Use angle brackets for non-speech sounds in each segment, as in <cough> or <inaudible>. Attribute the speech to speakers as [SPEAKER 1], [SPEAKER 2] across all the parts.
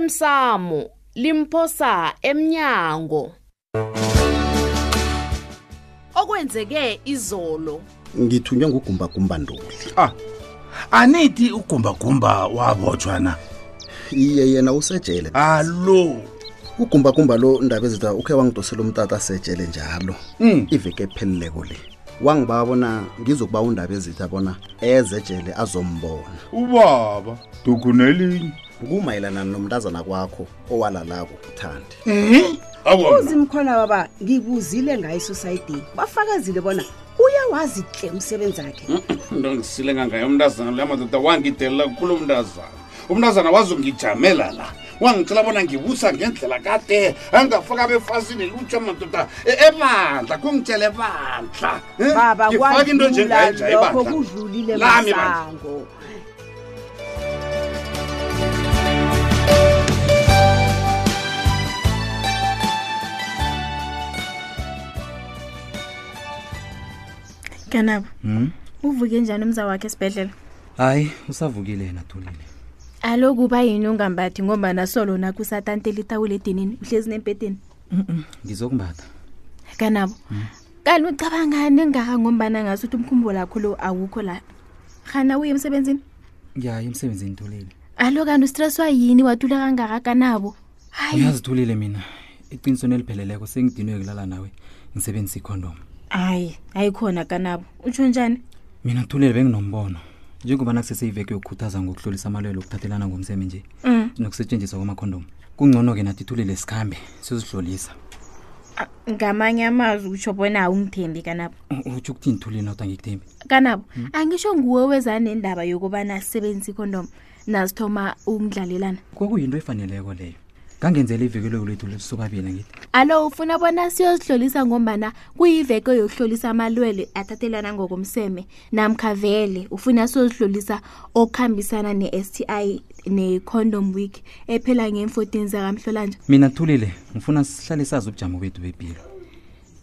[SPEAKER 1] osemsamo limphosa emnyango okwenzeke izolo
[SPEAKER 2] ngithunywe ngugumbagumba ntuli
[SPEAKER 3] ah anithi ugumbagumba wabotshwa na
[SPEAKER 2] iye yena usejele
[SPEAKER 3] alo
[SPEAKER 2] ugumbagumba lo ndaba ezita ukhe wangidosela umtata asejele njalo
[SPEAKER 3] Mm.
[SPEAKER 2] iveke ephelileko le wangibaba bona ngizokuba undaba ezitha bona ezejele azombona
[SPEAKER 3] ubaba dukunelinye
[SPEAKER 2] kumayelana nomntazana kwakho owalalako uthande
[SPEAKER 3] Eh? awona
[SPEAKER 4] uzimkhona baba ngibuzile ngayo esosayidini bafakazile bona uyawazi hle umsebenzi wakhe
[SPEAKER 5] into ngisilenga ngayo umntazana leya madoda wangidelela kukhulu umntazana umntazana wazongijamela la wangicela bona ngibusa ngendlela kade angafaka befasini lutsha madoda e- ebandla kungitshele bandla Eh,
[SPEAKER 4] baba
[SPEAKER 5] ngifaka into
[SPEAKER 4] kwadlula
[SPEAKER 5] njengayenja
[SPEAKER 4] lokho
[SPEAKER 5] ebandla
[SPEAKER 4] kudlulile
[SPEAKER 5] e Lami bandla.
[SPEAKER 4] masango
[SPEAKER 6] kanabo uvuke njani umza wakhe esibhedlela
[SPEAKER 7] hayi usavukile yena thulile
[SPEAKER 6] aloku uba yini ungambathi ngoba nasolo nakho usatantela itawula edinini uhlezi nempedeni
[SPEAKER 7] ngizokumbatha
[SPEAKER 6] kanabo kanti ucabangani ngaka ngombana ngase uthi umkhumbulo lakho lo awukho la rhana uye emsebenzini
[SPEAKER 7] ngiyayo emsebenzini thulile
[SPEAKER 6] alo kanti ustresswa yini watula kangaka kanabo hayi
[SPEAKER 7] uyazi thulile mina iqinisweni elipheleleko sengidinwe kulala nawe ngisebenzisa ikhondom
[SPEAKER 6] hayi hayi khona kanabo utsho njani
[SPEAKER 7] mina thulile benginombono njengoba nakuseseyiveke yokukhuthaza ngokuhlolisa amalwelo okuthathelana ngomseme nje
[SPEAKER 6] um
[SPEAKER 7] nokusetshenziswa kwamakhondom kungcono-ke nathi thulile sikhambe sizihlolisa
[SPEAKER 6] ngamanye amazwi utsho bona awungithembi kanabo
[SPEAKER 7] U- utho ukuthini thulile nodwa ngikuthembi
[SPEAKER 6] kanabo angisho nguwe wezanendaba yokubana sisebenzisa ikondom nazithoma ukundlalelana
[SPEAKER 7] kwakuyinto efaneleko leyo ngangenzela ivikelo lethu lesobabili angithi
[SPEAKER 6] alo ufuna bona siyozihlolisa ngombana kuyiveke yokuhlolisa amalwele athathelana ngokomseme namkhavele ufuna siyozihlolisa okuhambisana ne-s t i ne-condom week ephela nge-14 zakamhlolanja
[SPEAKER 7] mina thulile ngifuna sihlale sazi ubujamo bethu bempilo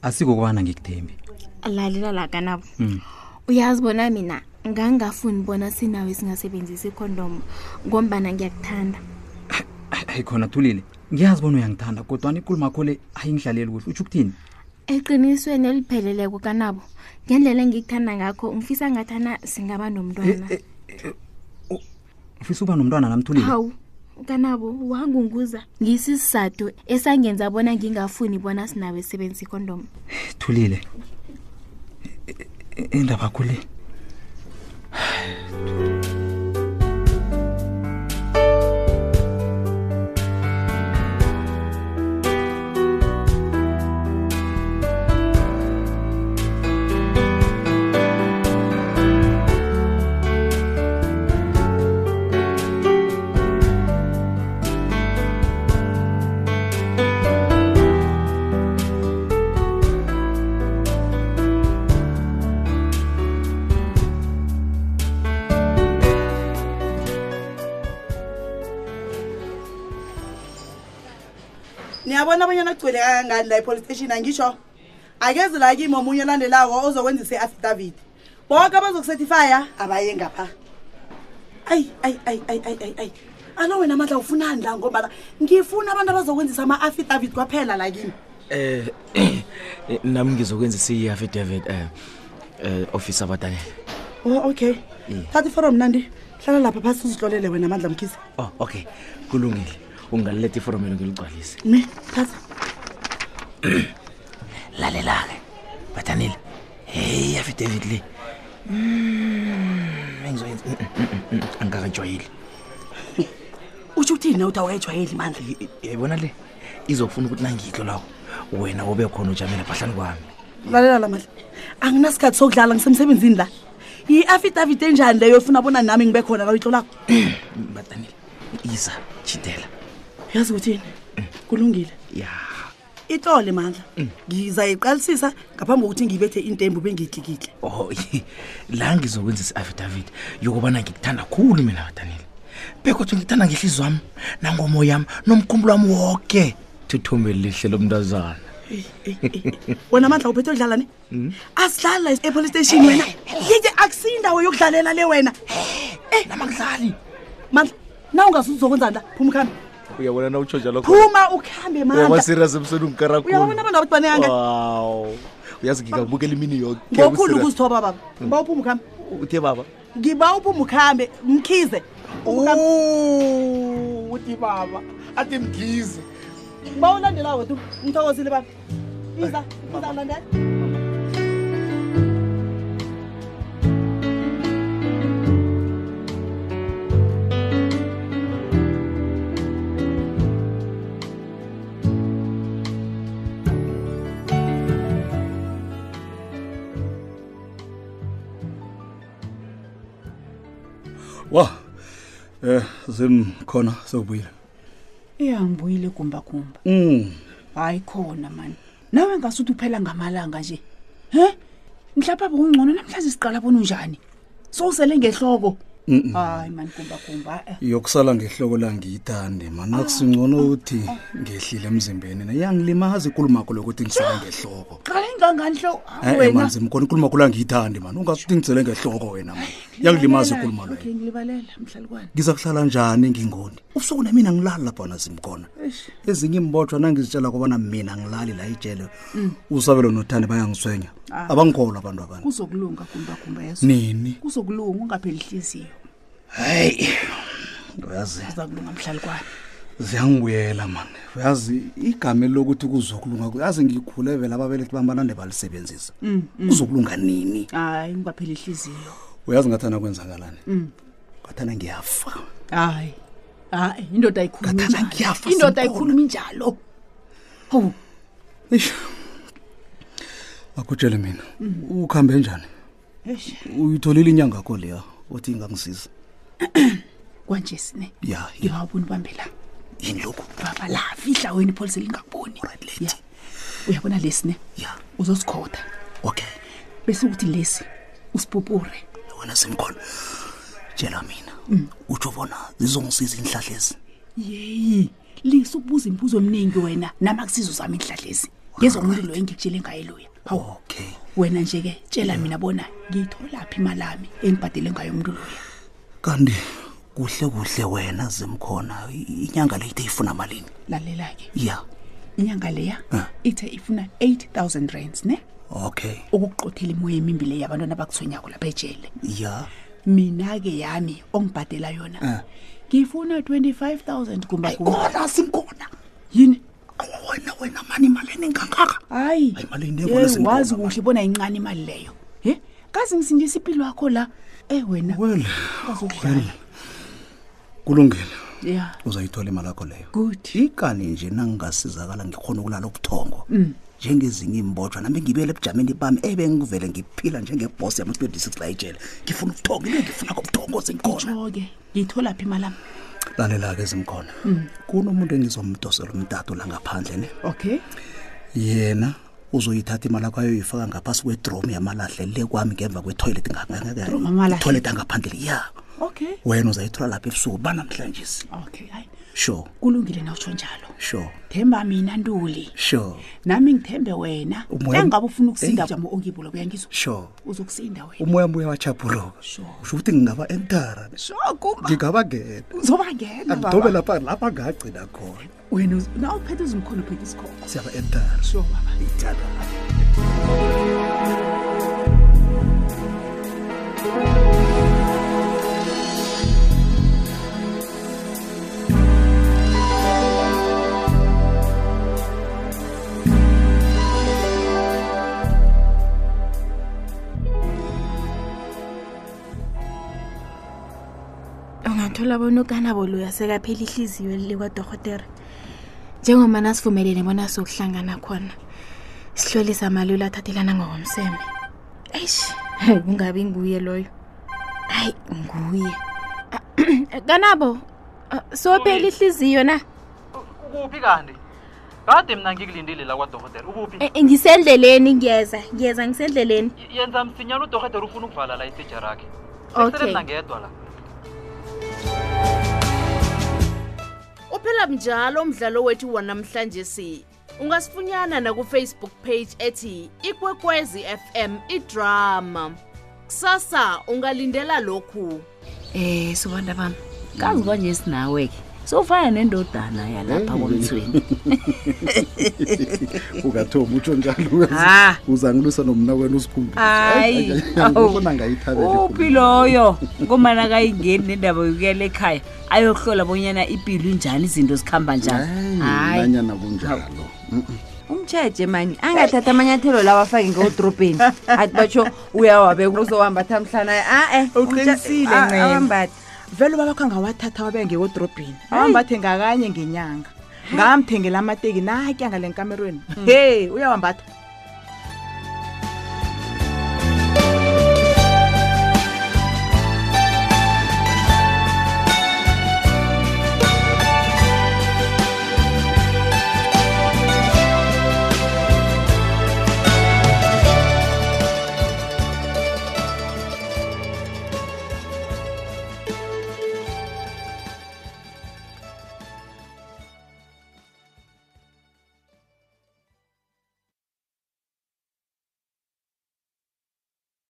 [SPEAKER 7] asikokubana ngikuthembi
[SPEAKER 6] lalela la kanabo uyazi bona mina ngangingafuni bona sinawe singasebenzisi ikondom ngombana ngiyakuthanda
[SPEAKER 7] hayi khona thulile ngiyazi bona uyangithanda kodwana ikulumo akho le ayingihlaleli kuhle utsho ukuthini
[SPEAKER 6] eqinisweni elipheleleko kanabo ngendlela engikuthanda ngakho ngifisa ngathana singaba nomntwana
[SPEAKER 7] ufisa uba nomntwana namthulile
[SPEAKER 6] hawu kanabo wangunguza ngisisizathu esangenza bona ngingafuni bona sinawe sebenzisa ikondom
[SPEAKER 7] thulile I- i- indaba akho le
[SPEAKER 8] niyabona abanyana ogcwele kangangani la i-police station angisho akeze la kimi omunye olandelako ozokwenzisa i-affidavit boke abazokusetifya abaye ngapha ayi ayi ayi ayi ayi ayi ayi alo wena amandla ufunani la ngobana ngifuna abantu abazokwenzisa ama-affidavit kwaphela la kimi
[SPEAKER 9] Eh <clears throat> nami ngizokwenza siyaffidavit eh eh office abadanele.
[SPEAKER 8] o Oh, okay thatha iforom mnandi hlala lapha phasi uzihlolele wena amandla mkhisi
[SPEAKER 9] Oh okay kulungile. Ungalilethe iforomelo ngiligcwalise.
[SPEAKER 8] me thatha
[SPEAKER 9] Lalela ke. Badanele. Hey affidavit le. Mm ngizoyenza angakajwayeli.
[SPEAKER 8] utsho ukuthini na uthi awayejwayeli mandla
[SPEAKER 9] Yayibona le izofuna ukuthi nangikho lawo wena ube khona ujamela phahlani kwami. <clears throat>
[SPEAKER 8] lalela la mandla anginasikhathi sokudlala ngisemsebenzini la yi-affidavit enjani leyo ofuna bona nami ngibe khona la uyitlolako
[SPEAKER 9] Badanele. Isa chidela.
[SPEAKER 8] yazi kuthini kulungile
[SPEAKER 9] Ya.
[SPEAKER 8] itlole mandla ngizayiqalisisa ngaphambi kokuthi ngibethe intembu bengiyitlikitle
[SPEAKER 9] Oh <laughs> la ngizokwenza isiaffidavit yokubana ngikuthanda khulu mina badanile. Bekodwa ngikuthanda ngehlizwa wami nangomoya wami nomkhumbulo wami wonke. Thuthumbe lihle lomntazana.
[SPEAKER 8] wena mandla uphethe odlala ne asidlali la epolice station wena yeke akusindawo yokudlalela le wena
[SPEAKER 9] Eh namangidlali.
[SPEAKER 8] mandla na ungazuzi uzokwenzani la phuma ukhambi
[SPEAKER 9] uyabona na utsho njalo
[SPEAKER 10] phuma ukhambe
[SPEAKER 9] Uyaba
[SPEAKER 10] mandla
[SPEAKER 9] serious emsweni
[SPEAKER 10] uyabona
[SPEAKER 9] ungikarakhulu
[SPEAKER 10] abantu ababananga
[SPEAKER 9] wow uyazi ngingabukela imini yoke
[SPEAKER 10] ngokhulu
[SPEAKER 9] Serious.
[SPEAKER 10] ukuzithoba baba ngiba uphuma ukhambe
[SPEAKER 9] uthe baba
[SPEAKER 10] ngiba uphuma ukhambe mkhize
[SPEAKER 9] Oh, uthi baba athi mgize
[SPEAKER 10] ba ulandela wethu ngithokozile baba iza izawulandela
[SPEAKER 2] wa um zimkhona sokubuyile
[SPEAKER 8] iya ngibuyile kumbakumba
[SPEAKER 2] um
[SPEAKER 8] hayi khona mani nawe ngasuthi uphela ngamalanga nje he mhlawumbe bekungcono namhlanje siqala bona unjani sowusele ngehloko hayi mani kumbakumba eh.
[SPEAKER 2] yokusala ngehloko langiyithande mani nakusingcono uthi ngehlile emzimbeni nayangilimazi ikulumakho lokuthi ngisele ngehloko
[SPEAKER 8] qala ingangani hlo
[SPEAKER 2] Eh, eh mani zimkhona ikulumakho langiyithandi mani ungasuthi ngisele ngehloko wena mani yangilimazi ikuluma leyo
[SPEAKER 8] okay ngilibalela mhlalukwane
[SPEAKER 2] ngizakuhlala njani ngingoni ubusuku namina ngilali laphana zimkhona ezinye imbotshwa nangizitshela kobana mina ngilali la ijele usabelo nothandi bayangiswenya abangikholwa abantu abantu
[SPEAKER 8] kuzokulunga kumbakumba yeso
[SPEAKER 2] nini
[SPEAKER 8] kuzokulunga ungapheli hliziyo
[SPEAKER 2] hayi uyazi
[SPEAKER 8] uza kulunga mhlalukwane
[SPEAKER 2] ziyangibuyela mani uyazi igama lokuthi kuzokulunga uyazi ngikhule vele ababelethi bami banande balisebenzisa kuzokulunga nini
[SPEAKER 8] hayi ungapheli hliziyo
[SPEAKER 2] uyazi ngathana kwenzakalani ngathana ngiyafa
[SPEAKER 8] hayi hayi indoda ayikhulumi
[SPEAKER 2] Ngathana
[SPEAKER 8] njalo.
[SPEAKER 2] ngiyafa,
[SPEAKER 8] indoda
[SPEAKER 2] Simkhona.
[SPEAKER 8] ayikhulumi njalo hawu
[SPEAKER 2] Eish. akutshele mina ukuhambe njani
[SPEAKER 8] eish
[SPEAKER 2] uyitholile inyanga kho leya othi ingangisiza
[SPEAKER 8] kwanje sine
[SPEAKER 2] ya
[SPEAKER 8] ngiyawabona ubambe la
[SPEAKER 2] yini lokhu
[SPEAKER 8] baba la fihla wena ipholisa lingakuboni Ya. uyabona lesi ne
[SPEAKER 2] ya
[SPEAKER 8] uzosikhotha
[SPEAKER 2] okay
[SPEAKER 8] bese ukuthi lesi usipupure
[SPEAKER 2] wena simkhona tshela mina
[SPEAKER 8] Mm.
[SPEAKER 2] utsho bona zizongisiza iinhlahla ezi
[SPEAKER 8] yeyi lisi ukubuza imibuzo eminingi wena namakusizo zami iinhlahlezi ngezomuntu loyo engikutshele ngaye loya hawu
[SPEAKER 2] okay
[SPEAKER 8] wena nje-ke tshela mina bona ngiyitholaphi imalami engibhadele ngayo umuntu loya
[SPEAKER 2] kanti kuhle kuhle wena zimkhona i- inyanga le ithe ifuna malini
[SPEAKER 8] lalela-ke
[SPEAKER 2] ya
[SPEAKER 8] inyanga leya ithe ifuna 8000 rands ne
[SPEAKER 2] okay
[SPEAKER 8] ukukuqothela imoya emimbi leyo yabantwana abakuthonyako lapha ejele
[SPEAKER 2] ya
[SPEAKER 8] mina-ke yami ongibhadela yona ngifuna 25000 kumbakumba
[SPEAKER 2] kona simkhona
[SPEAKER 8] yini
[SPEAKER 2] awa wena wena mani imalini engangaka
[SPEAKER 8] hayi
[SPEAKER 2] Hayi, imali yinto engcono esinikhona,
[SPEAKER 8] wazi
[SPEAKER 2] mani.
[SPEAKER 8] kuhle bona incane imali leyo ye kazi ngisindisa impilo yakho la e wena
[SPEAKER 2] wele
[SPEAKER 8] azokudlala
[SPEAKER 2] kulungile
[SPEAKER 8] ya
[SPEAKER 2] uzayithola imali yakho leyo
[SPEAKER 8] good
[SPEAKER 2] ikani nje nangingasizakala ngikhona ukulala ubuthongo njengezinye imbotshwa nami ngibuyele ebujameni bami ebengivele ngiphila njengebhosi yama-26 la ijele ngifuna ubuthongo into engifuna kobuthongo zimkhona
[SPEAKER 8] tsho-ke ngiyitholaphi imalami
[SPEAKER 2] lalela-ke zimkhona kunomuntu engizomdosela umtatu la ngaphandle ne
[SPEAKER 8] okay
[SPEAKER 2] yena uzoyithatha imali akho ayoyifaka ngaphasi kwedrom yamalahle le kwami ngemva kwetoilet
[SPEAKER 8] Drum yamalahle?
[SPEAKER 2] toilet angaphandle ya
[SPEAKER 8] okay
[SPEAKER 2] wena uzayithola lapha ebusuku banamhlanje
[SPEAKER 8] okay hayi
[SPEAKER 2] sure
[SPEAKER 8] kulungile nawutsho njalo
[SPEAKER 2] sure
[SPEAKER 8] themba mina ntuli
[SPEAKER 2] sure
[SPEAKER 8] nami ngithembe wena
[SPEAKER 2] Umoya-
[SPEAKER 8] nangabe ufuna ukusinda
[SPEAKER 2] Eyi.
[SPEAKER 8] jamo ongibulo kuyangizwa
[SPEAKER 2] sure
[SPEAKER 8] uzokusinda wena
[SPEAKER 2] umoya mbuya wachaphuluka
[SPEAKER 8] Sure.
[SPEAKER 2] usho ukuthi ngingaba entara
[SPEAKER 8] shokumba
[SPEAKER 2] ngingabangena
[SPEAKER 8] uzobangena
[SPEAKER 2] angidobe
[SPEAKER 8] baba
[SPEAKER 2] lapha lapha ngagcina khona
[SPEAKER 8] wena uz- na uphethe uzimkhona uphethe isikhoko
[SPEAKER 2] siyaba entara
[SPEAKER 8] sure baba
[SPEAKER 2] ithandwa
[SPEAKER 6] ungathola bona ukanabo loya sekapheli ihliziyo likwadorhotere njengoba nasivumelene bona sokuhlangana khona sihlolise amalula athathelana ngokomseme eish hayi kungabi nguye loyo hayi nguye <clears throat> Ah, kanabo ah, sophela ihliziyo na
[SPEAKER 7] ukuphi kanti kade mina ngikulindile la kwadorhotera ukuphi
[SPEAKER 6] Eh, eh, ngisendleleni ngiyeza ngiyeza ngisendleleni
[SPEAKER 7] Y- yenza msinyana udorhotera ufuna ukuvala la iteja rakhe
[SPEAKER 6] Okay.
[SPEAKER 7] mina ngedwa la
[SPEAKER 4] uphela njalo umdlalo wethu wanamhlanje si ungasifunyana na ku Facebook page ethi ikwekwezi fm idrama kusasa ungalindela lokhu
[SPEAKER 11] Eh, sobantu bami kazi kwanje sinawe-ke
[SPEAKER 8] sofana nendodana yalapha komthweni
[SPEAKER 2] ukathoma utsho njalo uzangilwisa nomna kwena
[SPEAKER 8] Ah. hayi
[SPEAKER 2] usikhumbuaona ngayithabele
[SPEAKER 8] uphi loyo ngombana Oh, kayingeni nendaba yokuyela ekhaya ayohlola bonyana ipilo injani izinto zikhamba njani hayi
[SPEAKER 2] nanyana kunjalo
[SPEAKER 12] umtsheje mani angathatha amanyathelo lawo afake
[SPEAKER 13] <laughs>
[SPEAKER 12] ngewodrobheni athi batsho uyawabeka Eh, uzohamba thamhlana a-e
[SPEAKER 13] uqinisile Ncema.
[SPEAKER 12] ah, vele
[SPEAKER 13] ubabakho angawathatha wabe ngewodrobhini awambathe
[SPEAKER 12] Hmm.
[SPEAKER 13] ngakanye ngenyanga ngamthengela amateki nakuyanga le nkamerweni he uyawambatha